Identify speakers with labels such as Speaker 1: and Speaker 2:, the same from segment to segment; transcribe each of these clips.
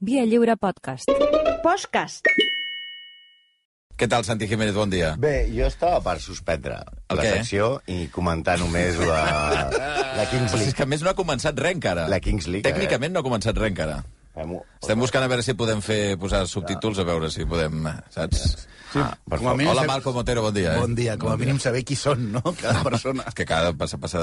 Speaker 1: Via Lliure Podcast.
Speaker 2: Podcast.
Speaker 3: Què tal, Santi Jiménez? Bon dia.
Speaker 4: Bé, jo estava per suspendre
Speaker 3: El
Speaker 4: la
Speaker 3: què?
Speaker 4: secció i comentar només la, la Kings
Speaker 3: Però si és
Speaker 4: League.
Speaker 3: que a més no ha començat res encara.
Speaker 4: La Kings League, eh?
Speaker 3: Tècnicament no ha començat res encara.
Speaker 4: Fem-ho.
Speaker 3: Estem buscant a veure si podem fer posar subtítols, a veure si podem, saps? Sí,
Speaker 4: per
Speaker 5: com a
Speaker 4: favor.
Speaker 5: mínim
Speaker 3: Hola,
Speaker 5: sab-
Speaker 3: Malcom Otero, bon dia. Eh?
Speaker 5: Bon dia, com a mínim saber qui són, no?, cada persona.
Speaker 3: És que cada passa, passa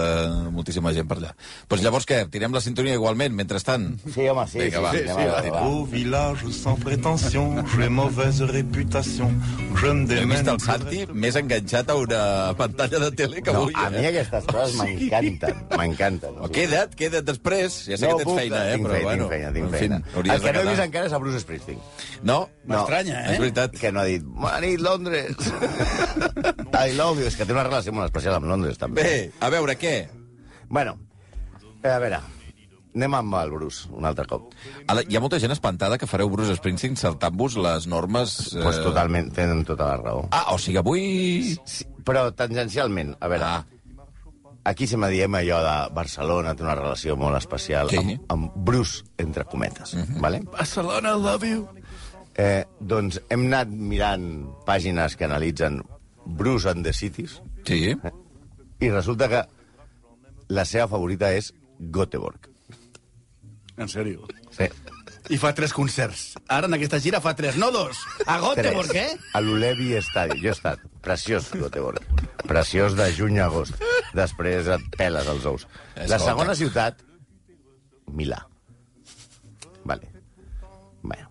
Speaker 3: moltíssima gent per allà. Doncs pues llavors què? Tirem la sintonia igualment, mentrestant?
Speaker 4: Sí, home, sí.
Speaker 3: Vinga,
Speaker 4: sí,
Speaker 3: va,
Speaker 4: sí,
Speaker 3: sí,
Speaker 4: anem a
Speaker 3: sí,
Speaker 4: veure,
Speaker 6: Au village sans prétention, j'ai mauvaise réputation. Je me
Speaker 3: He
Speaker 6: démène.
Speaker 3: vist el Santi més enganxat a una pantalla de tele que
Speaker 4: va. No,
Speaker 3: avui. eh?
Speaker 4: a mi aquestes coses m'encanten, m'encanten.
Speaker 3: O queda't, queda't després. Ja sé
Speaker 4: No
Speaker 3: que tens
Speaker 4: puc,
Speaker 3: feina, eh?
Speaker 4: Tinc
Speaker 3: però
Speaker 4: feina,
Speaker 3: bueno,
Speaker 4: tinc feina, tinc
Speaker 3: en
Speaker 4: feina.
Speaker 3: fi, hauries
Speaker 4: El que
Speaker 3: de
Speaker 4: no he vist
Speaker 3: quedar.
Speaker 4: encara és a Bruce Springsteen,
Speaker 3: No?
Speaker 5: M'estranya, eh?
Speaker 3: És veritat.
Speaker 4: que no ha dit, bona nit, Londres. I love you. És que té una relació molt especial amb Londres, també.
Speaker 3: Bé, a veure, què?
Speaker 4: Bueno, a veure, anem amb el Bruce un altre cop.
Speaker 3: A la- Hi ha molta gent espantada que fareu Bruce Springsteen saltant-vos les normes... Eh...
Speaker 4: Doncs pues totalment, tenen tota la raó.
Speaker 3: Ah, o sigui, avui...
Speaker 4: Sí, però tangencialment, a veure,
Speaker 3: Ah,
Speaker 4: Aquí se me diem allò de Barcelona té una relació molt especial
Speaker 3: Sí. Mhm.
Speaker 4: amb, amb Bruce, entre cometes. vale?
Speaker 5: Barcelona, love you.
Speaker 4: eh, doncs hem anat mirant pàgines que analitzen Bruce and the Cities
Speaker 3: sí.
Speaker 4: i resulta que la seva favorita és Göteborg.
Speaker 5: En sèrio.
Speaker 4: Sí.
Speaker 5: I fa tres concerts. Ara, en aquesta gira, fa tres, no dos. A Göteborg, eh?
Speaker 4: A l'Ulevi Stadium. Jo he estat. Preciós, Göteborg. Preciós de juny a agost. Després et peles els ous.
Speaker 3: Escolta.
Speaker 4: La segona ciutat, Milà. Vale. Bueno.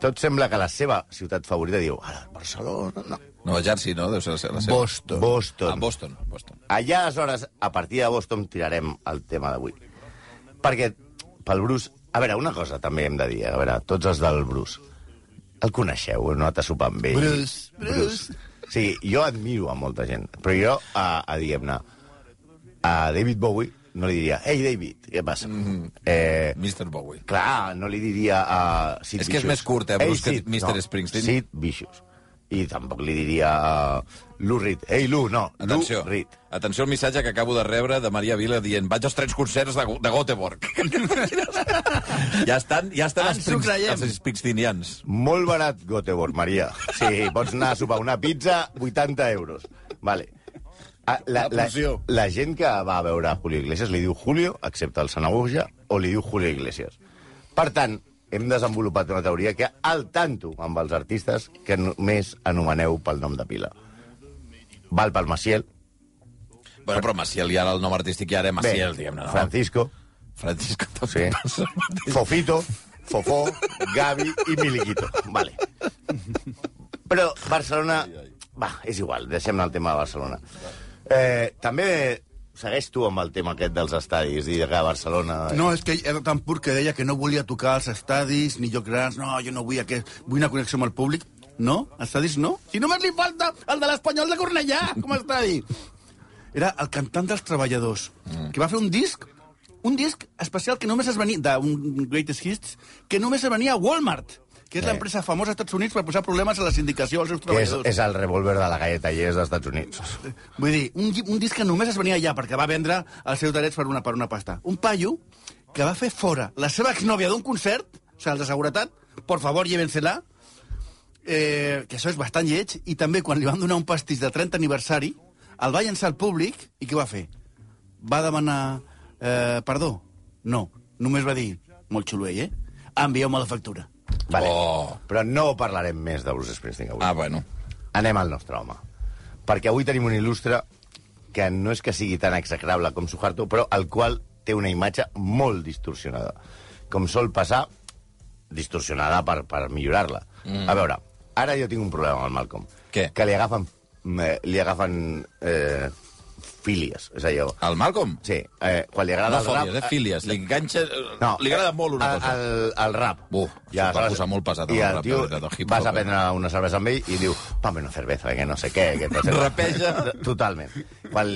Speaker 4: Tot sembla que la seva ciutat favorita diu, ara, Barcelona, no.
Speaker 3: Nova Jersey, no? Deu ser la seva. la seva.
Speaker 5: Boston.
Speaker 4: Boston.
Speaker 3: Ah, Boston. Boston.
Speaker 4: Allà, aleshores, a partir de Boston tirarem el tema d'avui. Perquè, pel Bruce... A veure, una cosa també hem de dir, a veure, tots els del Bruce. El coneixeu, heu anat a sopar amb ell.
Speaker 5: Bruce, Bruce.
Speaker 4: Sí, jo admiro a molta gent, però jo, a, a diguem-ne, a David Bowie no li diria, ei, David, què passa?
Speaker 3: Mhm.
Speaker 4: eh,
Speaker 3: Mr. Bowie.
Speaker 4: clar, no li diria a Sid
Speaker 3: És que és
Speaker 4: Vicious,
Speaker 3: més curt, eh,
Speaker 4: "Ei,
Speaker 3: Bruce, que
Speaker 4: Sid",
Speaker 3: Mr. Springsteen.
Speaker 4: Sid Vicious. I tampoc li diria a Lou Reed, ei, Lou, no,
Speaker 3: Atenció.
Speaker 4: Lou Reed.
Speaker 3: Atenció al missatge que acabo de rebre de Maria Vila dient vaig als tres concerts de, Go- de Göteborg. ja estan, ja estan
Speaker 5: Ah,
Speaker 3: els,
Speaker 5: Ens ho
Speaker 3: Springs-
Speaker 5: creiem.
Speaker 3: els Springsteenians.
Speaker 4: Molt barat, Göteborg, Maria. Sí, pots anar a sopar una pizza, 80 euros. Vale. Ah, La,
Speaker 5: La
Speaker 4: la,
Speaker 5: porció.
Speaker 4: la gent que va a veure Julio Iglesias li diu Julio, excepte el Sanagoja, o li diu Julio Iglesias. Per tant, hem desenvolupat una teoria que al tanto amb els artistes que només anomeneu pel nom de pila. Val pel Maciel,
Speaker 3: Bueno, però Maciel, i ara el nom artístic, i ara Maciel, diguem-ne, no?
Speaker 4: Francisco,
Speaker 3: Francisco
Speaker 4: Sí.
Speaker 3: també passa el mateix.
Speaker 4: Fofito, Fofó, Gavi i Miliquito. Vale. Però Barcelona... Va, és igual, deixem el tema de Barcelona. Eh, també segueix tu amb el tema aquest dels estadis, dir que a Barcelona...
Speaker 5: No, és que era tan pur que deia que no volia tocar als estadis, ni jo grans, no, jo no vull aquest... Vull una connexió amb el públic. No, estadis no. Si només li falta el de l'Espanyol de Cornellà, com a estadi. Era el cantant dels treballadors, mm. que va fer un disc, un disc especial que només es venia, d'un Greatest Hits, que només es venia a Walmart, que és
Speaker 4: Sí.
Speaker 5: l'empresa famosa als Estats Units per posar problemes a la sindicació als seus
Speaker 4: Que és,
Speaker 5: treballadors.
Speaker 4: és el revòlver de la galleta i és dels Estats Units.
Speaker 5: Vull dir, un, lli- un disc que només es venia allà perquè va vendre els seus drets per una, per una pasta. Un paio que va fer fora la seva exnòvia d'un concert, o sigui, el de seguretat, por favor, llévensela, eh, que això és bastant lleig, i també quan li van donar un pastís de 30 aniversari, el va llançar al públic, i què va fer? Va demanar eh, perdó? No, només va dir, molt xulo ell, eh? Envieu-me la factura.
Speaker 4: Vale.
Speaker 3: Oh.
Speaker 4: Però no parlarem més de Bruce Springsteen avui.
Speaker 3: Ah, bueno.
Speaker 4: Anem al nostre home. Perquè avui tenim un il·lustre que no és que sigui tan execrable com Suharto, però el qual té una imatge molt distorsionada. Com sol passar, distorsionada per, per millorar-la. Mm. A veure, ara jo tinc un problema amb el Malcolm.
Speaker 3: Què?
Speaker 4: Que li agafen, eh, li agafen eh, fílies, és allò.
Speaker 3: El Malcolm?
Speaker 4: Sí, eh, quan li
Speaker 3: Ah. No
Speaker 4: agrada el
Speaker 3: fòbies,
Speaker 4: rap...
Speaker 3: eh, fílies. Li enganxa... No, li agrada molt una cosa.
Speaker 4: El, el, el rap.
Speaker 3: Buf, s'ho
Speaker 4: I
Speaker 3: va
Speaker 4: aleshores-
Speaker 3: posar molt pesat, el
Speaker 4: I
Speaker 3: rap,
Speaker 4: el
Speaker 3: la
Speaker 4: tio,
Speaker 3: veritat, el hip-hop,
Speaker 4: vas a
Speaker 3: eh?
Speaker 4: prendre una cervesa amb ell i diu, pame una cerveza, que no sé què. Que no sé què."
Speaker 3: Rapeja.
Speaker 4: Totalment. Quan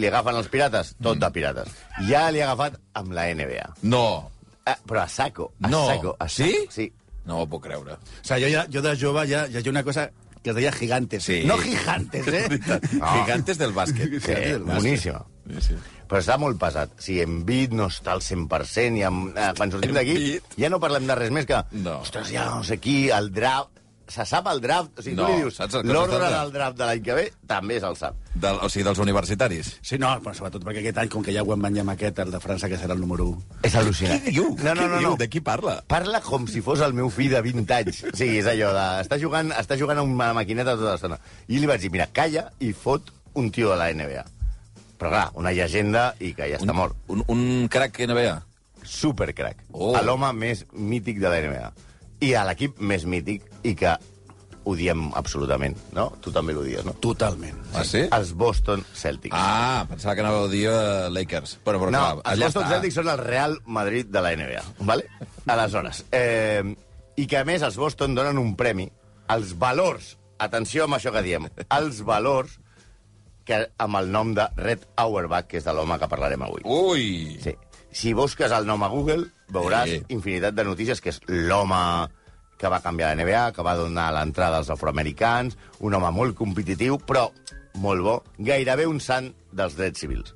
Speaker 4: li agafen els pirates, tot
Speaker 3: Mm.
Speaker 4: de pirates. Ja li ha agafat amb la NBA.
Speaker 3: No,
Speaker 4: Ah, però a saco, a
Speaker 3: no.
Speaker 4: saco, a saco.
Speaker 3: sí?
Speaker 4: Sí.
Speaker 3: No ho puc creure.
Speaker 5: O sigui, jo, ja, jo de jove ja, ja hi havia una cosa que es deia gigantes.
Speaker 3: Sí.
Speaker 5: No gigantes, eh?
Speaker 3: Gigantes del bàsquet. Gigantes
Speaker 4: Sí,
Speaker 3: del bàsquet.
Speaker 4: boníssima.
Speaker 3: Sí, sí.
Speaker 4: Però està molt pesat. Si en Bit no està al 100% i amb, eh, quan sortim d'aquí
Speaker 3: Embiid.
Speaker 4: ja no parlem de res més que...
Speaker 3: No.
Speaker 4: Ostres, ja no sé qui, el draft... Se sap el draft? O sigui,
Speaker 3: No,
Speaker 4: tu li dius,
Speaker 3: saps el que
Speaker 4: l'ordre
Speaker 3: s'està-
Speaker 4: del draft de l'any que ve també se'l sap.
Speaker 3: Del, o sigui, dels universitaris.
Speaker 5: Sí, no, però sobretot perquè aquest any, com que ja ho van banyar amb aquest, el de França, que serà el número 1.
Speaker 4: És al·lucinant.
Speaker 3: Què diu?
Speaker 4: No, no,
Speaker 3: Què
Speaker 4: no,
Speaker 3: diu?
Speaker 4: no.
Speaker 3: De qui parla?
Speaker 4: Parla com si fos el meu fill de 20 anys. O sigui, és allò de... Està jugant, està jugant a una maquineta tota l'estona. I li vaig dir, mira, calla i fot un tio de la NBA. Però clar, una llegenda i que ja està mort.
Speaker 3: Un, un crac NBA.
Speaker 4: Supercrac.
Speaker 3: Oh.
Speaker 4: A l'home més mític de la NBA. I a l'equip més mític i que odiem absolutament, no? Tu també l'odies, no?
Speaker 5: Totalment.
Speaker 3: Ah, sí?
Speaker 4: Els Boston Celtics.
Speaker 3: Ah, pensava que anava a dir eh, Lakers. Però, però,
Speaker 4: no,
Speaker 3: clar,
Speaker 4: els
Speaker 3: allà
Speaker 4: Boston
Speaker 3: està.
Speaker 4: Celtics són el Real Madrid de la NBA, vale? Aleshores, eh, i que a més els Boston donen un premi als valors, atenció amb això que diem, als valors que amb el nom de Red Auerbach, que és de l'home que parlarem avui.
Speaker 3: Ui!
Speaker 4: Sí. Si busques el nom a Google, veuràs
Speaker 3: Sí.
Speaker 4: infinitat de notícies, que és l'home que va canviar la NBA, que va donar l'entrada als afroamericans, un home molt competitiu, però molt bo, gairebé un sant dels drets civils.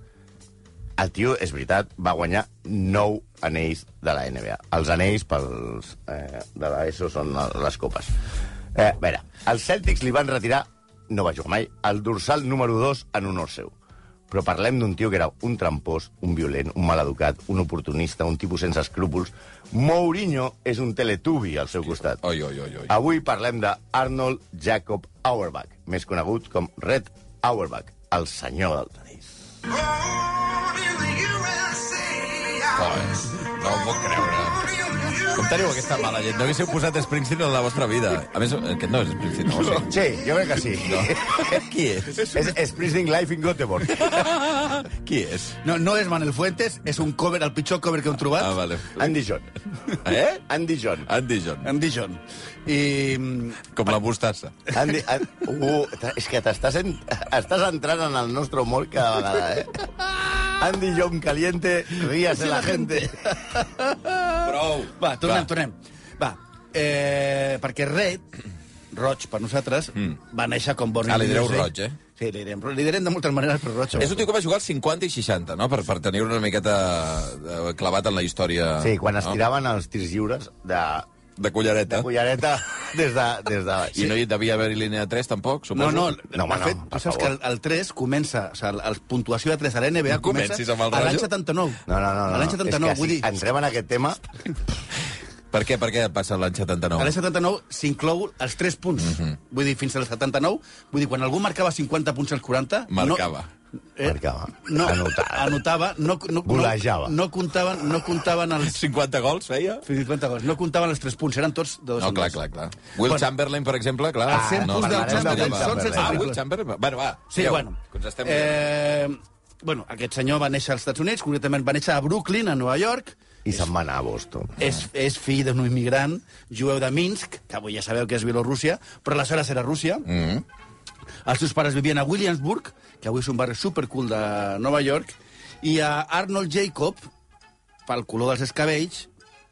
Speaker 4: El tio, és veritat, va guanyar nou anells de la NBA. Els anells pels, eh, de l'ESO són les copes. Eh, a veure, els Celtics li van retirar, no va jugar mai, el dorsal número 2 en honor seu. Però parlem d'un tio que era un trampós, un violent, un maleducat, un oportunista, un tipus sense escrúpols. Mourinho és un teletubi al seu costat.
Speaker 3: Oi, oi, oi, oi.
Speaker 4: Avui parlem de Arnold Jacob Auerbach, més conegut com Red Auerbach, el senyor del tenis.
Speaker 3: Joder, no ho puc creure. Com teniu aquesta mala llet? No haguéssiu posat Springsteen en la vostra vida. A més, aquest no és Springsteen, no ho sé.
Speaker 4: Sí, jo crec que sí.
Speaker 3: Qui és?
Speaker 4: És, és Prisoning Life in Göteborg.
Speaker 3: Qui és?
Speaker 5: No, no és Manuel Fuentes, és un cover, el pitjor cover que hem trobat.
Speaker 3: Ah, vale.
Speaker 4: Andy John.
Speaker 3: Eh?
Speaker 4: Andy John.
Speaker 3: Andy John.
Speaker 5: Em Dijon. I... mm,
Speaker 3: Com la mostassa.
Speaker 4: Andy, an... uh, t- és que t'estàs en... estàs entrant en el nostre humor cada vegada, eh? Andy John caliente, ríase la gente.
Speaker 3: Prou.
Speaker 5: Va,
Speaker 3: Va.
Speaker 5: tornem, va. tornem. Va, eh, perquè Red, roig per nosaltres, mm. va néixer com Born
Speaker 3: Ah, li
Speaker 5: in
Speaker 3: direu
Speaker 5: Music.
Speaker 3: roig, eh?
Speaker 5: Sí, li direm, li direm de moltes maneres, però roig.
Speaker 3: És un tio que va jugar als 50 i 60, no? Per, per tenir una miqueta eh, clavat en la història...
Speaker 4: Sí, quan es
Speaker 3: no?
Speaker 4: tiraven els tirs lliures de,
Speaker 3: De cullereta.
Speaker 4: de cullereta des de, des de baix.
Speaker 3: I no hi devia haver línia 3, tampoc,
Speaker 5: No,
Speaker 3: suposo?
Speaker 5: no,
Speaker 4: No, home,
Speaker 5: de fet,
Speaker 4: no, per
Speaker 5: tu saps que
Speaker 4: favor.
Speaker 5: el, el 3 comença, o sigui, la puntuació de 3 a la NBA
Speaker 3: No
Speaker 5: comença
Speaker 3: comencis amb el
Speaker 5: a l'any
Speaker 3: rotllo.
Speaker 5: 79.
Speaker 4: No, no, no. no.
Speaker 5: A l'any 79,
Speaker 4: és que
Speaker 5: vull
Speaker 4: si
Speaker 5: dir,
Speaker 4: entrem en aquest tema...
Speaker 3: Per què, per què passa l'any
Speaker 5: a
Speaker 3: 79?
Speaker 5: l'any 79 s'inclou els 3 punts. Vull dir, fins al 79, vull dir, quan algú marcava 50 punts als 40...
Speaker 3: Marcava.
Speaker 5: No,
Speaker 4: Marcava.
Speaker 5: Eh, No,
Speaker 4: Anotava.
Speaker 5: anotava. anotava no, no,
Speaker 4: Golejava.
Speaker 5: No, no, comptaven, no comptaven els
Speaker 3: 50 gols feia?
Speaker 5: Fins i tot gols. No comptaven els 3 punts, eren tots de dos
Speaker 3: No,
Speaker 5: en
Speaker 3: clar,
Speaker 5: dos.
Speaker 3: clar, clar. Will Chamberlain, per exemple, clar.
Speaker 5: Els 100 punts del
Speaker 4: parlarem de
Speaker 5: Chamberlain
Speaker 4: Will
Speaker 5: són sense
Speaker 4: Chamberlain.
Speaker 3: Ah, Will
Speaker 5: triples.
Speaker 3: Chamberlain. Bueno, va.
Speaker 5: Sí,
Speaker 3: adéu,
Speaker 5: bueno.
Speaker 3: Que ens estem... Eh...
Speaker 5: Eh, bueno, aquest senyor va néixer als Estats Units, concretament va néixer a Brooklyn, a Nova York.
Speaker 4: I se'n va anar a Boston.
Speaker 5: És, és fill d'un immigrant jueu de Minsk, que avui ja sabeu que és Bielorússia, però aleshores era Rússia. Mm Els seus pares vivien a Williamsburg, que avui és un barri supercool de Nova York, i a Arnold Jacob, pel color dels escabells,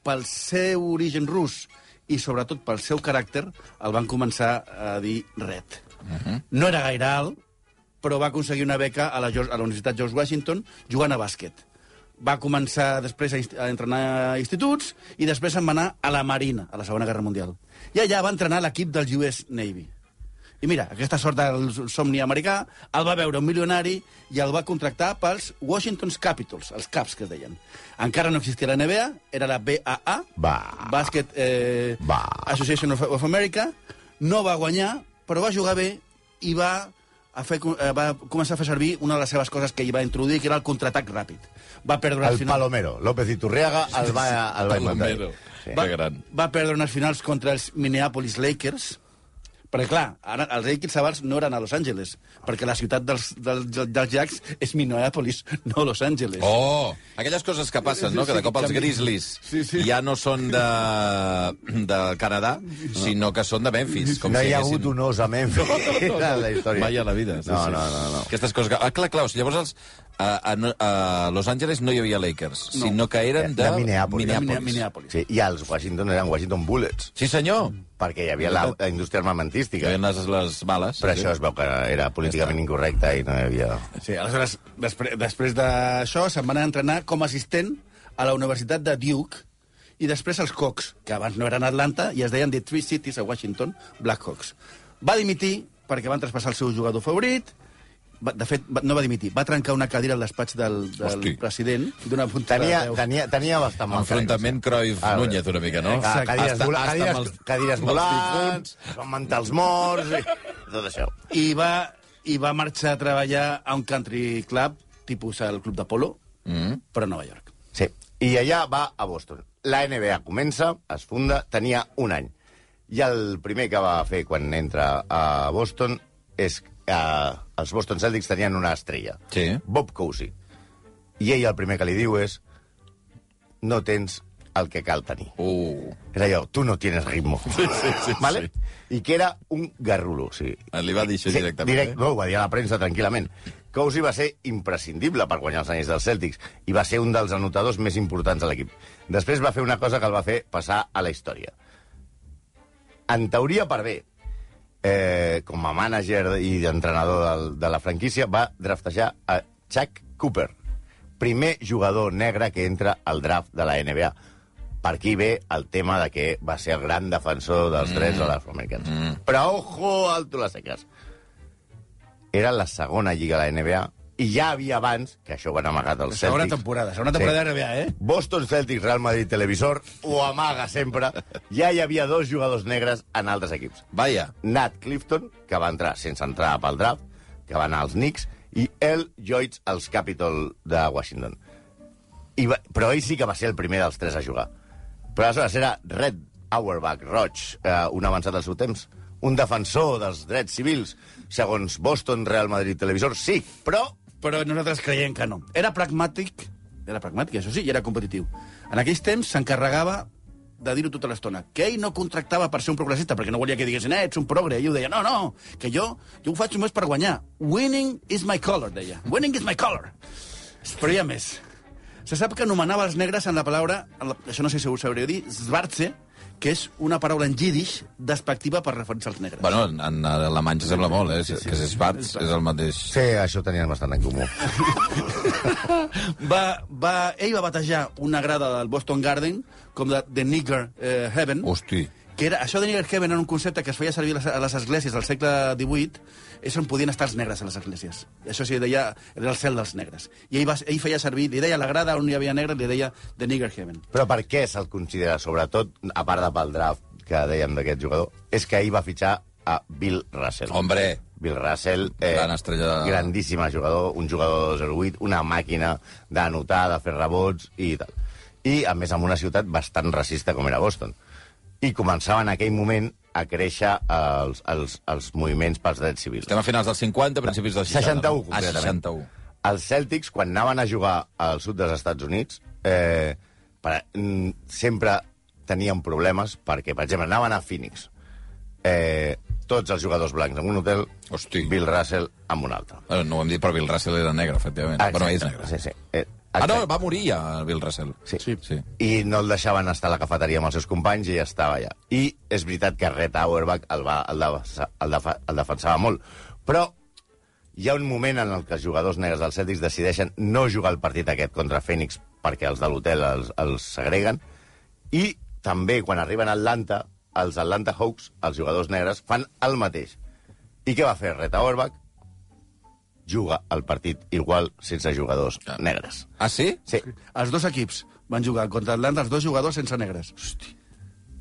Speaker 5: pel seu origen rus i, sobretot, pel seu caràcter, el van començar a dir red. Uh -huh. No era gaire alt, però va aconseguir una beca a la, Geor- a la Universitat George Washington jugant a bàsquet. Va començar després a, inst- a entrenar a instituts i després se'n va anar a la Marina, a la Segona Guerra Mundial. I allà va entrenar l'equip del US Navy. I mira, aquesta sort del somni americà el va veure un milionari i el va contractar pels Washington's Capitals, els Caps, que es deien. Encara no existia la NBA, era la BAA,
Speaker 4: Va.
Speaker 5: Basket eh,
Speaker 4: Va.
Speaker 5: Association of, of America, no va guanyar, però va jugar bé i va, a fer, eh, va començar a fer servir una de les seves coses que hi va introduir, que era el contraatac ràpid. Va perdre al
Speaker 4: El
Speaker 5: final...
Speaker 4: Palomero. López Iturriaga el va, el va inventar.
Speaker 3: Palomero.
Speaker 4: Sí.
Speaker 3: Que gran.
Speaker 5: va perdre unes finals contra els Minneapolis Lakers, perquè, clar, ara els Lakers abans no eren a Los Angeles, perquè la ciutat dels, dels, dels Jacks és Minneapolis, no Los Angeles.
Speaker 3: Oh, aquelles coses que passen, no?
Speaker 5: Sí, sí,
Speaker 3: Que de cop els
Speaker 5: canvien.
Speaker 3: Grizzlies
Speaker 5: Sí, sí.
Speaker 3: ja no són de, de Canadà, sinó que són de Memphis. Com
Speaker 4: no
Speaker 3: si
Speaker 4: hi ha hagut
Speaker 3: haguessin-
Speaker 4: un os a Memphis no, no, no, no. en la història.
Speaker 3: Mai a la vida. Sí,
Speaker 4: no,
Speaker 3: sí.
Speaker 4: no, no, no.
Speaker 3: Aquestes coses que... Ah, clar, clar, o sigui, llavors els, a, a, a Los Angeles no hi havia Lakers, no. sinó que eren de,
Speaker 4: de Minneapolis.
Speaker 5: Minneapolis.
Speaker 4: Sí, I els Washington eren Washington Bullets,
Speaker 3: Sí, senyor.
Speaker 4: perquè hi havia la, la indústria
Speaker 3: Hi
Speaker 4: armamentística.
Speaker 3: havia les, les bales.
Speaker 4: Però
Speaker 3: sí.
Speaker 4: això es veu que era políticament incorrecte i no hi havia...
Speaker 5: Sí, aleshores, després, després d'això, se'n van anar a entrenar com a assistent a la Universitat de Duke i després als Cox, que abans no eren Atlanta i es deien The Three Cities a Washington, Blackhawks. Va dimitir perquè van traspassar el seu jugador favorit, va, de fet, va, no va dimitir, va trencar una cadira al despatx del, del
Speaker 3: Hosti.
Speaker 5: president d'una puntada
Speaker 4: Tenia,
Speaker 5: de
Speaker 4: tenia, tenia bastant mal
Speaker 3: Enfrontament Cruyff-Núñez una mica, no?
Speaker 4: eh, Ca- Cadires,
Speaker 3: Hasta-
Speaker 4: vola,
Speaker 3: hasta amb
Speaker 4: cadires,
Speaker 3: els-
Speaker 4: cadires
Speaker 3: amb els
Speaker 4: volants,
Speaker 3: difunts.
Speaker 4: mentals morts... I... Tot això.
Speaker 5: I va, I va marxar a treballar a un country club, tipus el club d'Apolo, mm. però a Nova York.
Speaker 4: Sí. I allà va a Boston. La NBA comença, es funda, tenia un any. I el primer que va fer quan entra a Boston és que eh, els Boston Celtics tenien una estrella.
Speaker 3: Sí.
Speaker 4: Bob Cousy. I ell el primer que li diu és no tens el que cal tenir.
Speaker 3: Uh,
Speaker 4: És allò, tu no tienes ritmo. Sí, sí, sí. Vale? I que era un garrulo, o sigui,
Speaker 3: li va dir això directament.
Speaker 4: Direct,
Speaker 3: eh?
Speaker 4: no, ho va dir a la premsa tranquil·lament. Cousy va ser imprescindible per guanyar els anells dels Celtics i va ser un dels anotadors més importants de l'equip. Després va fer una cosa que el va fer passar a la història. En teoria, per bé, eh, com a mànager i entrenador del, de la franquícia, va draftejar a Chuck Cooper, primer jugador negre que entra al draft de la NBA. Per aquí ve el tema de que va ser el gran defensor dels drets dels afroamericans. Però ojo, alto les seques era la segona lliga de la NBA i ja havia abans, que això ho han amagat els
Speaker 5: Segona
Speaker 4: Celtics...
Speaker 5: temporada, segona temporada sí. de NBA, eh?
Speaker 4: Boston Celtics, Real Madrid, Televisor, ho amaga sempre. Ja hi havia dos jugadors negres en altres equips.
Speaker 3: Vaja.
Speaker 4: Nat Clifton, que va entrar sense entrar pel draft, que va anar als Knicks, i El Joyce als Capitol de Washington. I va, però ell sí que va ser el primer dels tres a jugar. Però aleshores era Red Auerbach Roig, eh, un avançat del seu temps, un defensor dels drets civils, segons Boston, Real Madrid, Televisor, sí, però...
Speaker 5: però nosaltres creiem que no. Era pragmàtic, era pragmàtic, això sí, i era competitiu. En aquells temps s'encarregava de dir-ho tota l'estona, que ell no contractava per ser un progressista, perquè no volia que diguessin, eh, ets un progre, i ho deia, no, no, que jo, jo ho faig només per guanyar. Winning is my color, deia. Winning is my color. Però hi ha més. Se sap que anomenava els negres en la paraula, en la, això no sé si ho sabré dir, svartze, que és una paraula en jiddisch despectiva per referir-se als negres.
Speaker 3: Bueno, en, en alemany se sembla molt, eh? Sí, sí, que és Schwarz, és el mateix.
Speaker 4: Sí, això tenien bastant en comú.
Speaker 5: va, va, ell va batejar una grada del Boston Garden com de The Nigger eh, Heaven,
Speaker 3: Hosti.
Speaker 5: que era, això de Nigger Heaven era un concepte que es feia servir a les, a les esglésies del segle XVIII, és on podien estar els negres a les esglésies. Això sí, deia, era el cel dels negres. I ell, va, ell feia servir, li deia la grada on hi havia negres, li deia The Nigger Heaven.
Speaker 4: Però per què se'l considera, sobretot, a part de pel draft que dèiem d'aquest jugador, és que ahir va fitxar a Bill Russell.
Speaker 3: Hombre.
Speaker 4: Bill Russell, eh,
Speaker 3: Gran estrella.
Speaker 4: grandíssima jugador, un jugador de 08, una màquina d'anotar, de fer rebots i tal. I, a més, en una ciutat bastant racista com era Boston. I començava en aquell moment a créixer els, els, els moviments pels drets civils.
Speaker 3: Estem a finals dels 50, principis dels 60.
Speaker 4: 61,
Speaker 3: no? Ah,
Speaker 4: concretament.
Speaker 3: 61.
Speaker 4: Els Celtics, quan anaven a jugar al sud dels Estats Units, eh, per, mm, sempre tenien problemes perquè, per exemple, anaven a Phoenix. Eh, tots els jugadors blancs en un hotel,
Speaker 3: Hosti.
Speaker 4: Bill Russell en un altre.
Speaker 3: Bueno, no ho hem dit, però Bill Russell era negre, efectivament. Ah, bueno, és negre.
Speaker 4: Sí, sí. Eh,
Speaker 3: Ah, no,
Speaker 4: exacte.
Speaker 3: va morir ja, el Bill Russell.
Speaker 4: Sí.
Speaker 3: sí.
Speaker 4: I no el deixaven estar a la cafeteria amb els seus companys i ja estava allà. I és veritat que Red Auerbach el, va, el, defa, el, defa, el defensava molt. Però hi ha un moment en el que els jugadors negres dels Celtics decideixen no jugar el partit aquest contra Phoenix perquè els de l'hotel els, els segreguen i també quan arriben a Atlanta els Atlanta Hawks, els jugadors negres, fan el mateix. I què va fer Red Auerbach? Juga el partit igual sense jugadors
Speaker 3: Clar.
Speaker 4: negres.
Speaker 3: Ah, sí?
Speaker 4: Sí,
Speaker 5: Els dos equips van jugar contra Atlanta, els dos jugadors sense negres.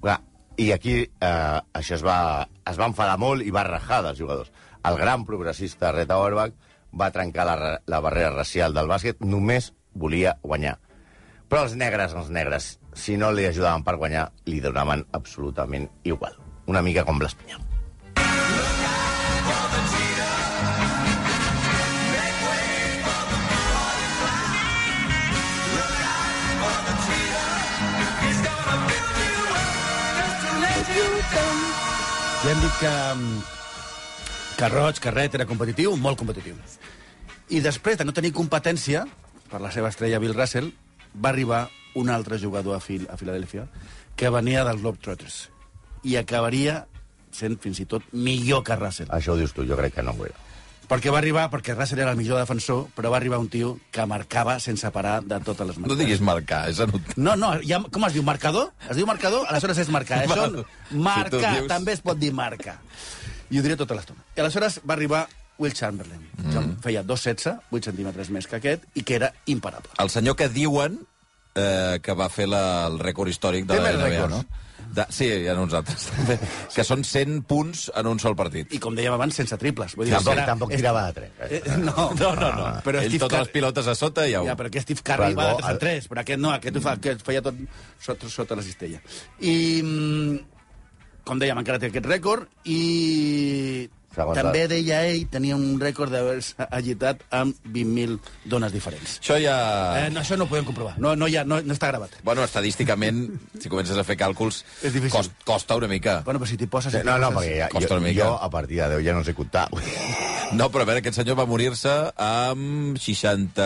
Speaker 4: Clar, i aquí eh, això es va, es va enfadar molt i va rajar dels jugadors. El gran progressista Red Auerbach va trencar la, ra- la barrera racial del bàsquet, només volia guanyar. Però els negres, els negres, si no li ajudaven per guanyar, li donaven absolutament igual. Una mica com l'Espinyol.
Speaker 5: Ja hem dit que, mm, que Roig, que Red era competitiu, molt competitiu. I després de no tenir competència per la seva estrella Bill Russell, va arribar un altre jugador a, Fil a Filadèlfia que venia dels Globetrotters i acabaria sent fins i tot millor que Russell.
Speaker 4: Això ho dius tu, jo crec que no ho era.
Speaker 5: Perquè va arribar, perquè Russell era el millor defensor, però va arribar un tio que marcava sense parar de totes les
Speaker 3: No
Speaker 5: maneres.
Speaker 3: diguis marcar, és anotar.
Speaker 5: No, no, ja, com es diu, marcador? Es diu marcador? Aleshores és marcar.
Speaker 3: Val.
Speaker 5: Això,
Speaker 3: Si tu
Speaker 5: marca,
Speaker 3: dius-
Speaker 5: també es pot dir marca. I ho diré tota l'estona. I aleshores va arribar Will Chamberlain,
Speaker 3: Mm.
Speaker 5: que feia 2,16, 8 centímetres més que aquest, i que era imparable.
Speaker 3: El senyor que diuen eh, que va fer la, el rècord històric de
Speaker 5: Té
Speaker 3: la
Speaker 5: més
Speaker 3: NBA,
Speaker 5: rècords.
Speaker 3: no? De, sí, hi ha uns altres. també, que són 100 punts en un sol partit.
Speaker 5: I com dèiem abans, sense triples. Vull
Speaker 4: Tampoc,
Speaker 5: era-
Speaker 4: tampoc
Speaker 5: és-
Speaker 4: tirava de tres.
Speaker 5: Eh, no, no, no, no. Però
Speaker 3: Ah. Ell
Speaker 5: Steve
Speaker 3: totes les
Speaker 5: Curry...
Speaker 3: pilotes a sota i au.
Speaker 5: Ja,
Speaker 3: Ja,
Speaker 5: però que Steve Curry
Speaker 4: Però
Speaker 5: va de
Speaker 4: el bo-
Speaker 5: 3 a 3, però aquest no, aquest, ho fa, aquest feia tot sota, sota la cistella. I, mm, com dèiem, encara té aquest rècord, i
Speaker 4: Segons
Speaker 5: també
Speaker 4: la-
Speaker 5: deia ell, tenia un rècord d'haver-se agitat amb 20.000 dones diferents.
Speaker 3: Això ja...
Speaker 4: Ah.
Speaker 5: Eh, no, això no ho podem comprovar, no, no, hi ha, no, no està gravat.
Speaker 3: Bueno, estadísticament, si comences a fer càlculs,
Speaker 5: És difícil.
Speaker 3: cost, costa una mica.
Speaker 5: Bueno, però si t'hi poses... si t'hi
Speaker 4: No, no,
Speaker 5: poses-
Speaker 4: perquè ja,
Speaker 3: Costa
Speaker 4: jo,
Speaker 3: una mica.
Speaker 4: jo, a partir de 10 ja no sé comptar.
Speaker 3: No, però a veure, aquest senyor va morir-se amb 60...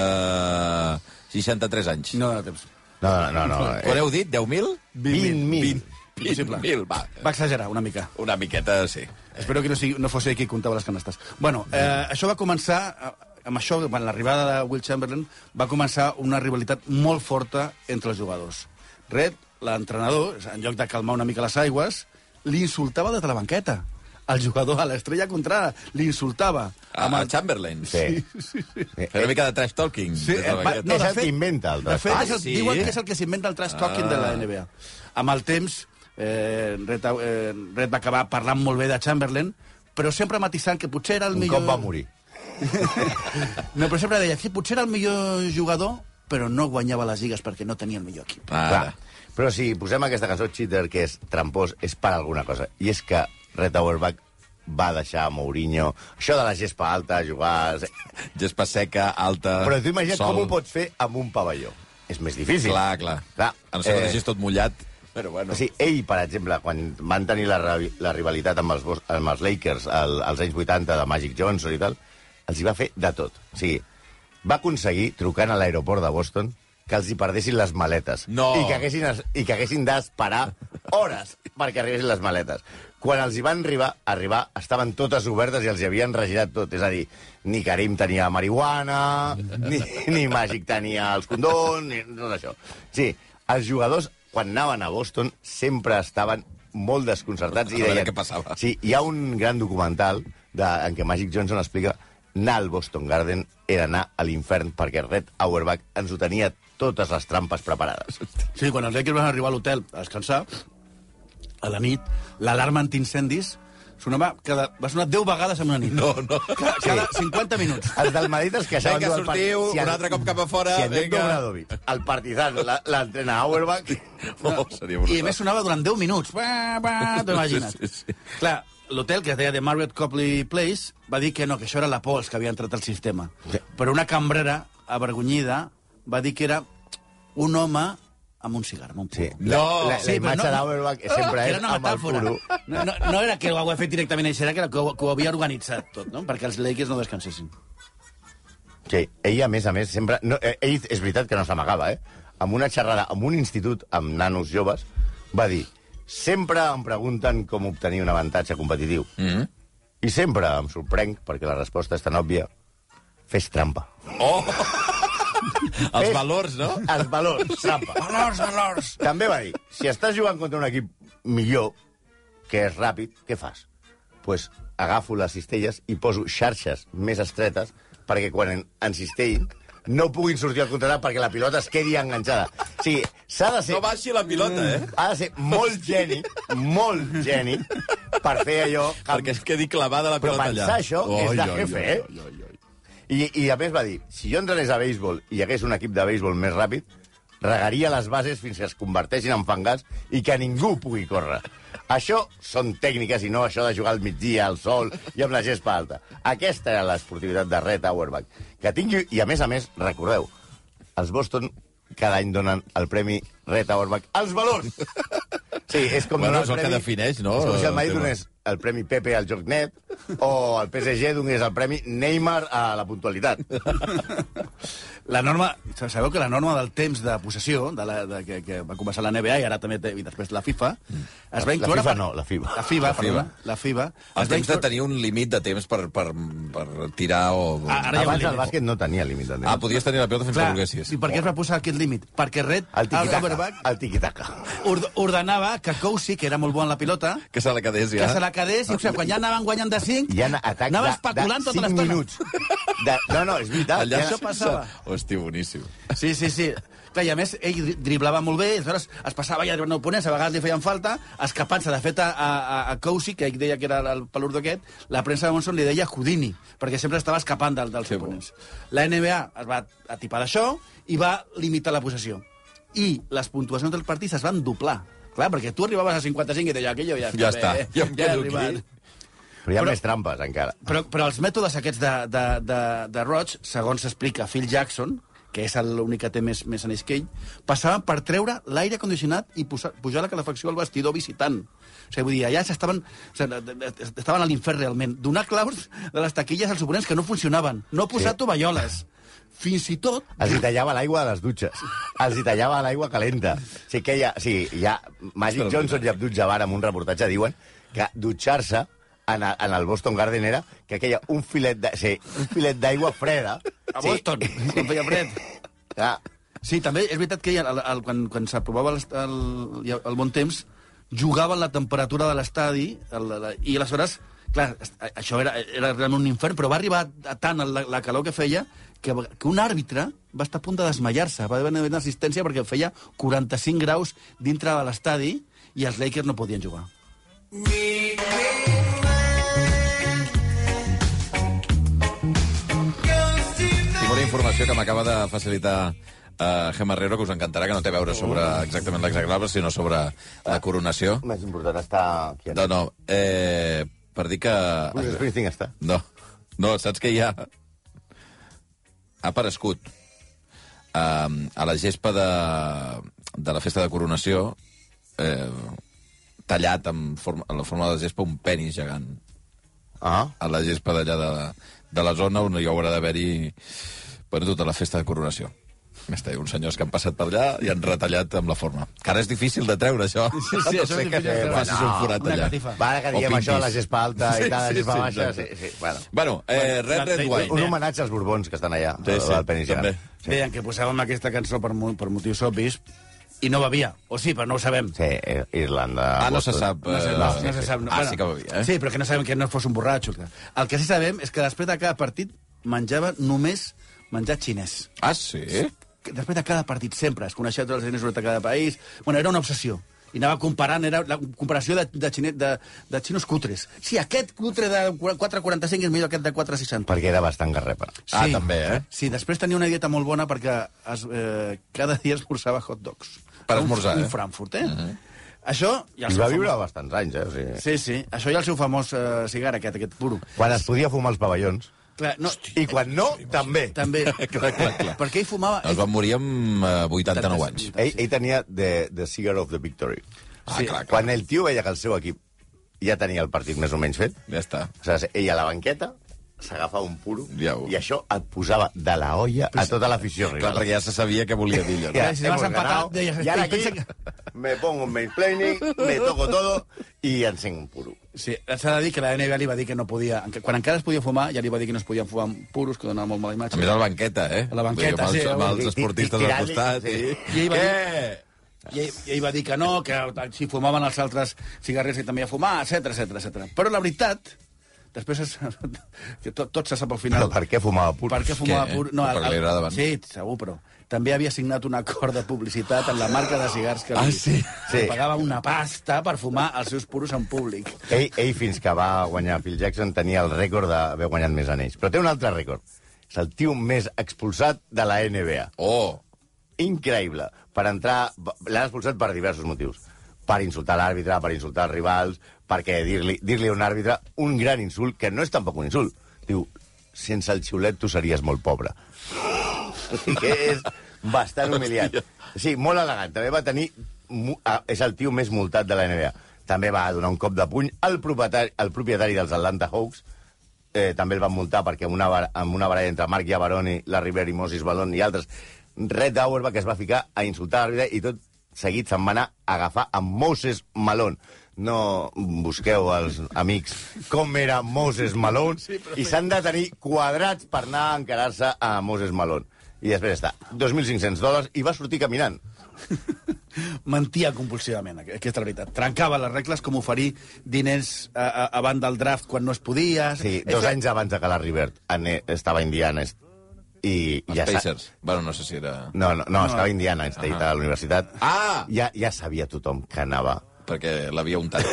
Speaker 3: 63 anys.
Speaker 5: No dona temps.
Speaker 4: No, no, no. no
Speaker 3: Quan
Speaker 4: eh,
Speaker 3: heu dit? 10.000?
Speaker 4: 20.000.
Speaker 3: 20.000, 20. va.
Speaker 5: Va exagerar una mica.
Speaker 3: Una miqueta, sí.
Speaker 5: Espero que no, sigui, no fos ell qui comptava les canastes. Bueno, eh, això va començar, eh, amb això, amb l'arribada de Will Chamberlain, va començar una rivalitat molt forta entre els jugadors. Red, l'entrenador, en lloc de calmar una mica les aigües, li insultava des de la banqueta. El jugador a l'estrella contrària li insultava.
Speaker 4: Ah,
Speaker 3: A, a Chamberlain.
Speaker 4: Sí. Eh,
Speaker 3: Fer una mica de trash talking.
Speaker 5: Sí,
Speaker 3: des de la
Speaker 5: Eh, va-
Speaker 3: banqueta.
Speaker 5: no,
Speaker 4: És
Speaker 5: de
Speaker 4: el
Speaker 5: fet-
Speaker 4: que inventa el
Speaker 5: De fet,
Speaker 4: trash
Speaker 5: és el,
Speaker 3: talking.
Speaker 5: diuen
Speaker 3: Sí?
Speaker 5: que és el que s'inventa el trash talking de
Speaker 4: Ah.
Speaker 5: la NBA. Amb el temps, eh, Red, eh, Red va acabar parlant molt bé de Chamberlain, però sempre matisant que potser era el
Speaker 4: un
Speaker 5: millor...
Speaker 4: cop va morir.
Speaker 5: No, però sempre deia que potser era el millor jugador, però no guanyava les lligues perquè no tenia el millor equip.
Speaker 3: Ara.
Speaker 4: Clar. Però si posem aquesta cançó Cheater, que és trampós, és per alguna cosa. I és que Red Auerbach va deixar a Mourinho això de la gespa alta, jugar... eh,
Speaker 3: Gespa seca, alta,
Speaker 4: Però tu imagina't
Speaker 3: sol.
Speaker 4: com ho pots fer amb un pavelló. És més difícil.
Speaker 3: Clar, clar.
Speaker 4: Clar,
Speaker 3: A no ser que
Speaker 4: eh,
Speaker 3: deixis tot mullat, però bueno.
Speaker 4: O sigui, ell, per exemple, quan van tenir la, ravi- la rivalitat amb els, Bos- amb els Lakers al, als anys 80 de Magic Johnson i tal, els hi va fer de tot. O sigui, va aconseguir, trucant a l'aeroport de Boston, que els hi perdessin les maletes.
Speaker 3: No.
Speaker 4: I que haguessin, es- i que haguessin d'esperar hores perquè arribessin les maletes. Quan els hi van arribar, arribar, estaven totes obertes i els hi havien regirat tot. És a dir, ni Karim tenia marihuana, ni, ni Màgic tenia els condons, ni tot això. Sí, els jugadors, quan anaven a Boston, sempre estaven molt desconcertats.
Speaker 3: A
Speaker 4: I
Speaker 3: veure
Speaker 4: deien,
Speaker 3: què passava.
Speaker 4: Sí, hi ha un gran documental de, en què Magic Johnson explica anar al Boston Garden era anar a l'infern perquè Red Auerbach ens ho tenia totes les trampes preparades.
Speaker 5: Sí, quan els Lakers van arribar a l'hotel a descansar, a la nit, l'alarma antiincendis sonava cada, va sonar 10 vegades en una nit.
Speaker 3: No, no.
Speaker 5: Ca- Cada 50 minuts.
Speaker 4: Els del Madrid es queixaven...
Speaker 3: Vinga,
Speaker 4: del partit.
Speaker 3: sortiu,
Speaker 4: en-
Speaker 3: un altre cop cap a fora,
Speaker 4: Si en Diego
Speaker 3: vinga.
Speaker 4: Obradovic, el partizan, la- l'entrena Auerbach...
Speaker 3: Oh, seria
Speaker 5: I a
Speaker 3: brutal.
Speaker 5: més sonava durant 10 minuts. Ba, ba, T'ho imagines?
Speaker 3: Sí, sí, sí.
Speaker 5: Clar, l'hotel que es deia de Marriott Copley Place va dir que no, que això era la pols que havia entrat al sistema. Però una cambrera avergonyida va dir que era un home amb un cigar, amb un puro.
Speaker 4: Sí,
Speaker 5: Sí.
Speaker 4: la,
Speaker 3: No. Ah,
Speaker 4: la, la
Speaker 5: Sí, però
Speaker 4: imatge
Speaker 5: no-
Speaker 4: d'Auerbach sempre
Speaker 5: era
Speaker 4: és
Speaker 5: una
Speaker 4: amb el
Speaker 5: metàfora.
Speaker 4: puro.
Speaker 5: No, no, no era que ho havia fet directament ell, era que, que, ho, que ho havia organitzat tot, no? perquè els Lakers no descansessin.
Speaker 4: Sí, ell, a més a més, sempre... No, eh, ell és veritat que no s'amagava, eh? Amb una xerrada, amb un institut amb nanos joves, va dir sempre em pregunten com obtenir un avantatge competitiu. Mm
Speaker 3: Mm-hmm.
Speaker 4: -hmm. I sempre em sorprenc, perquè la resposta és tan òbvia, fes trampa.
Speaker 3: Oh! Els
Speaker 4: Fes-
Speaker 3: valors, no?
Speaker 4: Els valors, trampa.
Speaker 5: Valors, valors!
Speaker 4: També va dir, si estàs jugant contra un equip millor, que és ràpid, què fas? Doncs pues agafo les cistelles i poso xarxes més estretes perquè quan en- encistellin no puguin sortir al contratat perquè la pilota es quedi enganxada. O sigui, s'ha de ser...
Speaker 3: No baixi la pilota, eh?
Speaker 4: Ha de ser molt geni, molt geni, per fer allò... que-
Speaker 3: Perquè es quedi clavada la
Speaker 4: Però
Speaker 3: pilota allà.
Speaker 4: pensar això és de jefe, eh?
Speaker 3: Oi, oi, oi.
Speaker 4: I, I a més va dir, si jo entrenés a béisbol i hi hagués un equip de béisbol més ràpid, regaria les bases fins que es converteixin en fangars i que ningú pugui córrer. Això són tècniques i no això de jugar al migdia, al sol i amb la gespa alta. Aquesta era l'esportivitat de Red Auerbach. Que tingui... I a més a més, recordeu, els Boston cada any donen el premi Red Auerbach als valors. Sí, és com
Speaker 3: Bueno,
Speaker 4: donar
Speaker 3: és el que defineix, no,
Speaker 4: És com si el
Speaker 3: el
Speaker 4: Madrid
Speaker 3: tema.
Speaker 4: donés el premi Pepe al joc net, o el PSG donés el premi Neymar a la puntualitat.
Speaker 5: La norma, sabeu que la norma del temps de possessió, de la, de, que, que va començar la NBA i ara també té, i després Mm. la FIFA, es va
Speaker 4: La
Speaker 5: incloure...
Speaker 4: FIFA
Speaker 5: per-
Speaker 4: no, la FIBA.
Speaker 5: La FIBA, la
Speaker 3: FIBA.
Speaker 5: FIBA. La FIBA
Speaker 3: El
Speaker 5: es va
Speaker 3: temps de
Speaker 5: incloure-
Speaker 3: tenir un límit de temps per, per, per tirar o...
Speaker 5: Ah, ara hi ha un
Speaker 4: Abans el
Speaker 5: límit.
Speaker 4: bàsquet no tenia límit de temps.
Speaker 3: Ah, podies tenir la pilota fins
Speaker 5: Clar,
Speaker 3: que volguessis.
Speaker 5: I per què es va posar aquest límit? Perquè Red,
Speaker 4: El tiquitaca.
Speaker 5: quarterback,
Speaker 4: El tiquitaca.
Speaker 5: ord- ordenava que Cousy, que era molt bon en la pilota,
Speaker 3: Que se la quedés ja.
Speaker 5: que se la quedés, i o sigui, quan ja anaven guanyant de 5,
Speaker 4: Hi ha atacs
Speaker 5: anava
Speaker 4: de-
Speaker 5: especulant
Speaker 4: de,
Speaker 5: tota
Speaker 4: cinc
Speaker 5: l'estona.
Speaker 4: minuts. De, no, no, és veritat.
Speaker 3: Allà
Speaker 4: Hi ha-
Speaker 3: això passava. Hosti, boníssim.
Speaker 5: Sí, sí, sí. Clar, i a més, ell dri- driblava molt bé, i aleshores es passava ja driblant oponents, a vegades li feien falta, escapant-se. De fet, a, a, a Cousy, que ell deia que era el palurdo aquest, la premsa de Monson li deia Houdini, perquè sempre estava escapant del, dels
Speaker 3: Que bo.
Speaker 5: oponents. La NBA es va atipar d'això i va limitar la possessió. I les puntuacions del partit es van doblar. Clar, perquè tu arribaves a 55 i deia aquello eh". ja està
Speaker 3: Ja està,
Speaker 5: bé,
Speaker 3: ja em
Speaker 5: ja he
Speaker 3: quedo aquí.
Speaker 5: arribat.
Speaker 4: Però hi ha
Speaker 5: Però-
Speaker 4: més trampes, encara.
Speaker 5: Però, però els mètodes aquests de, de, de, de Roig, segons s'explica Phil Jackson, que és l'únic que té més, més anells que ell, passaven per treure l'aire condicionat i posar, pujar la calefacció al vestidor visitant. O sigui, vull dir, allà s'estaven o sigui, estaven a l'infern, realment. Donar claus de les taquilles als oponents que no funcionaven. No posar
Speaker 4: Sí.
Speaker 5: sí. tovalloles. Fins i tot...
Speaker 4: Els hi tallava l'aigua de les dutxes. Els hi tallava l'aigua calenta. O sigui, que hi ha, o sigui, hi ha Magic Johnson i Abdul Jabbar amb un reportatge diuen que dutxar-se en, a- en el Boston Garden era que aquella un filet de- sí, un filet d'aigua freda.
Speaker 5: A Boston, quan feia fred.
Speaker 4: Ah,
Speaker 5: Sí, també és veritat que ell, el, el, quan, quan s'aprovava el, el, el bon temps, jugava la temperatura de l'estadi el- la- i aleshores, clar, es- a- això era, era realment un infern, però va arribar a tant la, la calor que feia que, va- que un àrbitre va estar a punt de desmaiar-se, va haver una assistència perquè feia 45 graus dintre de l'estadi i els Lakers no podien jugar.
Speaker 3: Tinc una informació que m'acaba de facilitar eh, Gemma Herrero, que us encantarà, que no té a veure sobre exactament l'exagrable, sinó sobre la coronació.
Speaker 4: més important està... Aquí,
Speaker 3: No, no, eh, per dir que...
Speaker 4: Bruce Springsteen està.
Speaker 3: No, no, saps que hi ha... Ha aparegut um, a la gespa de, de la festa de coronació eh, tallat en, forma, en la forma de la gespa un penis gegant
Speaker 4: Ah,
Speaker 3: a la gespa d'allà de, de la zona on hi haurà d'haver-hi bueno, tota la festa de coronació. Està, uns senyors que han passat per allà i han retallat amb la forma. Que ara és difícil de treure, això.
Speaker 5: Sí, sí,
Speaker 3: no
Speaker 5: això
Speaker 3: sé
Speaker 5: és
Speaker 3: que
Speaker 5: difícil de treure.
Speaker 3: facis un forat
Speaker 5: Una
Speaker 3: allà.
Speaker 5: catifa.
Speaker 4: va, ara que
Speaker 3: O
Speaker 4: diem això de la
Speaker 3: pintis.
Speaker 4: gespa alta i tal, la gespa
Speaker 3: sí,
Speaker 4: baixa... Sí,
Speaker 3: exacte.
Speaker 4: sí, bueno.
Speaker 3: Bueno, eh, Red Red
Speaker 5: la-
Speaker 3: Wine.
Speaker 4: Un homenatge als borbons que estan allà,
Speaker 3: Sí,
Speaker 4: sí,
Speaker 3: sí,
Speaker 4: sí, al penis
Speaker 3: també.
Speaker 4: gegant.
Speaker 5: Sí. Deien que posàvem aquesta cançó per, mo- per motius obvis i no bevia. O sí, però no ho sabem.
Speaker 4: Sí, eh, Irlanda...
Speaker 3: Ah, no se
Speaker 4: Boston.
Speaker 3: sap.
Speaker 5: No, se-
Speaker 3: eh,
Speaker 5: no, no se sap. No.
Speaker 3: Ah, sí que bevia, eh?
Speaker 5: Sí, però que no sabem que no fos un borratxo. clar. El que sí sabem és que després de cada partit menjava només menjar xinès.
Speaker 3: Ah, sí?
Speaker 5: Que Després de cada partit, sempre. Es coneixia tots els diners de cada país. Bueno, era una obsessió. I anava comparant, era la comparació de, de, xinet, de, de xinos cutres. Sí, aquest cutre de 4,45 és millor que aquest de 4,60.
Speaker 4: Perquè era bastant garrepa.
Speaker 5: Sí.
Speaker 3: Ah, també, eh?
Speaker 5: Sí, després tenia una dieta molt bona perquè es, eh, cada dia esmorzava hot dogs.
Speaker 3: Per esmorzar,
Speaker 5: un,
Speaker 3: eh?
Speaker 5: Un Frankfurt, eh? Això... I el
Speaker 4: I
Speaker 5: seu
Speaker 4: va
Speaker 5: famós-
Speaker 4: viure bastants anys, eh? O sigui,
Speaker 5: Sí, sí. Això i el seu famós eh, cigar, aquest, aquest puro.
Speaker 4: Quan es podia fumar els pavellons.
Speaker 5: Clar, no,
Speaker 4: I quan no, també.
Speaker 5: també.
Speaker 3: Clar, clar, clar.
Speaker 5: Perquè ell fumava...
Speaker 3: Es va morir amb eh, 89 anys.
Speaker 4: Ell, ell tenia the, the Cigar of the Victory.
Speaker 3: Ah, clar, clar.
Speaker 4: Quan el tio veia que el seu equip ja tenia el partit més o menys fet,
Speaker 3: Ja està.
Speaker 4: o sigui, ell a la banqueta s'agafava un puro
Speaker 3: Ja ho-
Speaker 4: i això et posava de la olla a tota l'afició
Speaker 3: Clar,
Speaker 4: rival.
Speaker 3: perquè ja se sabia què volia dir allò.
Speaker 5: Clar, si vas empatar, deies,
Speaker 4: I ara
Speaker 5: "Ei,
Speaker 4: aquí
Speaker 5: pensa que-"
Speaker 4: me pongo un mansplaining, me toco todo i encenc un puro.
Speaker 5: Sí, s'ha de dir que la NBA li va dir que no podia... enca- Quan encara es podia fumar, ja li va dir que no es podien fumar amb puros, que donava molt mala
Speaker 3: A
Speaker 5: imatge.
Speaker 3: més, a la banqueta, eh?
Speaker 5: A la banqueta,
Speaker 3: Vull dir,
Speaker 5: sí,
Speaker 3: Amb els, amb
Speaker 4: i- i-
Speaker 3: els esportistes
Speaker 4: i
Speaker 3: al
Speaker 4: tirant-li-
Speaker 3: costat. I,
Speaker 4: sí.
Speaker 5: I ell va dir-
Speaker 3: Què?
Speaker 5: I ell, i ell va dir que no, que si fumaven els altres cigarrers i també a fumar, etc etc etc. Però la veritat, després es, que tot, tot se sap al final.
Speaker 4: Però per què fumava puro?
Speaker 5: Per què fumava
Speaker 3: Què?
Speaker 5: pur?
Speaker 3: Perquè li agradaven.
Speaker 5: Sí, segur, però també havia signat un acord de publicitat amb la marca de cigars que li,
Speaker 3: Ah, sí?
Speaker 5: li
Speaker 4: Sí.
Speaker 5: pagava una pasta per fumar els seus puros en públic.
Speaker 4: Ell, ell, fins que va guanyar Phil Jackson, tenia el rècord d'haver guanyat més anells. Però té un altre rècord. És el tio més expulsat de la NBA.
Speaker 3: Oh,
Speaker 4: Increïble. Per entrar... L'han expulsat per diversos motius. Per insultar l'àrbitre, per insultar els rivals, perquè dir-li dir a un àrbitre un gran insult, que no és tampoc un insult. Diu, sense el xiulet tu series molt pobre. que és bastant humiliant. Sí, molt elegant. També va tenir... mu- ah, És el tio més multat de la NBA. També va donar un cop de puny al propietari, al propietari dels Atlanta Hawks, eh, també el van multar perquè amb una, bar- amb una baralla entre Marc Iavaroni, la River i Moses Balón i altres, Red Auerbach es va ficar a insultar l'àrbitre i tot seguit se'n va anar a agafar amb Moses Malone. No busqueu els amics com era Moses Malone i s'han de tenir quadrats per anar a encarar-se a Moses Malone. I després està, 2.500 dòlars i va sortir caminant.
Speaker 5: mentia compulsivament, aqu- aquesta és la veritat. Trencava les regles com oferir diners a, a, abans del draft quan no es podia.
Speaker 4: Sí,
Speaker 5: És
Speaker 4: dos
Speaker 5: a-
Speaker 4: anys abans de que la Rivert ane- estava a Indiana est- i
Speaker 3: Els
Speaker 4: ja sa-
Speaker 3: Pacers. Bueno, no sé si era...
Speaker 4: No, no, no, estava a Indiana State, a la universitat.
Speaker 3: Ah!
Speaker 4: Ja, ja sabia tothom que anava.
Speaker 3: Perquè l'havia untat.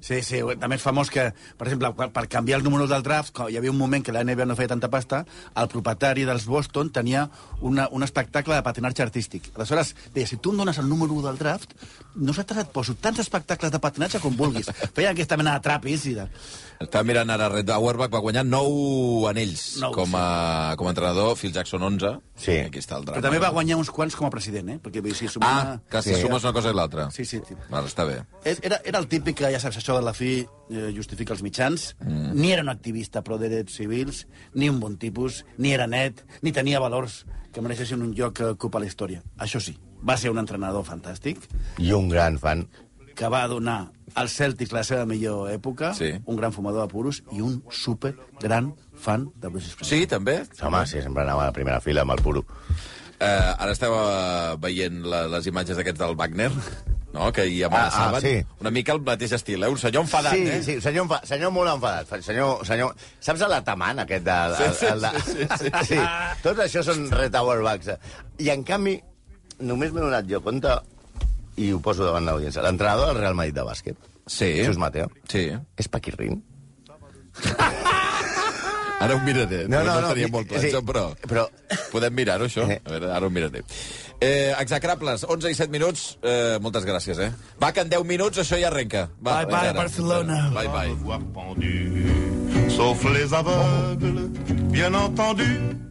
Speaker 5: Sí, sí, també és famós que, per exemple, per- per canviar el número del draft, quan hi havia un moment que la NBA no feia tanta pasta, el propietari dels Boston tenia una, un espectacle de patinatge artístic. Aleshores, deia, si tu em dones el número 1 del draft, nosaltres et poso tants espectacles de patinatge com vulguis. Feien aquesta mena de trapis i de...
Speaker 3: Estava mirant ara Red Auerbach, va guanyar 9 anells
Speaker 5: Nou,
Speaker 3: com, a, com a entrenador, Phil Jackson 11.
Speaker 4: Sí.
Speaker 3: Aquí està el drama.
Speaker 5: Però també va guanyar uns quants com a president, eh? Perquè, vull dir, si sumem...
Speaker 3: Ah, que si
Speaker 4: Sí.
Speaker 3: sumes una cosa i l'altra.
Speaker 5: Sí, sí, tio.
Speaker 3: Val, està bé.
Speaker 5: Era, era el típic que, ja saps, això de la fi eh, justifica els mitjans. Mm. Ni era un activista pro drets civils, ni un bon tipus, ni era net, ni tenia valors que mereixessin un lloc que ocupa la història. Això sí, va ser un entrenador fantàstic
Speaker 4: I un gran fan.
Speaker 5: que va donar als Celtics la seva millor època,
Speaker 3: Sí.
Speaker 5: un gran fumador de puros i un super gran fan de Bruce Springsteen.
Speaker 3: Sí, també?
Speaker 4: Home, sí, sempre anava a la primera fila amb el puro.
Speaker 3: Eh, ara estava veient la, les imatges aquests del Wagner, no? que hi amenaçaven.
Speaker 4: Ah, ah, sí.
Speaker 3: Una mica el mateix estil, eh? Un senyor enfadat,
Speaker 4: sí,
Speaker 3: eh?
Speaker 4: sí, senyor, enfa- senyor molt enfadat. fa- Senyor, senyor... Saps l'ataman aquest de... El,
Speaker 3: Sí, sí,
Speaker 4: el de...
Speaker 3: sí, sí, sí.
Speaker 4: sí. Tot això són retowerbacks. I, en canvi, només m'he donat jo compte, i ho poso davant l'audiència, l'entrenador del Real Madrid de bàsquet,
Speaker 3: Sí.
Speaker 4: Jesús Mateo,
Speaker 3: Sí.
Speaker 4: és Paquirrin.
Speaker 3: Ara ho miraré. No, no,
Speaker 4: No, no,
Speaker 3: no,
Speaker 4: no,
Speaker 3: tenia molt clar,
Speaker 4: sí,
Speaker 3: això, però...
Speaker 4: eh, però-
Speaker 3: Podem mirar-ho, això?
Speaker 4: Eh.
Speaker 3: A veure, ara ho miraré. Eh, execrables, 11 i 7 minuts. Eh, moltes gràcies, eh? Va, que en 10 minuts això ja arrenca. Va,
Speaker 5: Bye, bye,
Speaker 3: fins ara.
Speaker 5: Barcelona.
Speaker 3: Bye, bye.
Speaker 6: Avoir pendu, sauf les aveugles, bien entendu.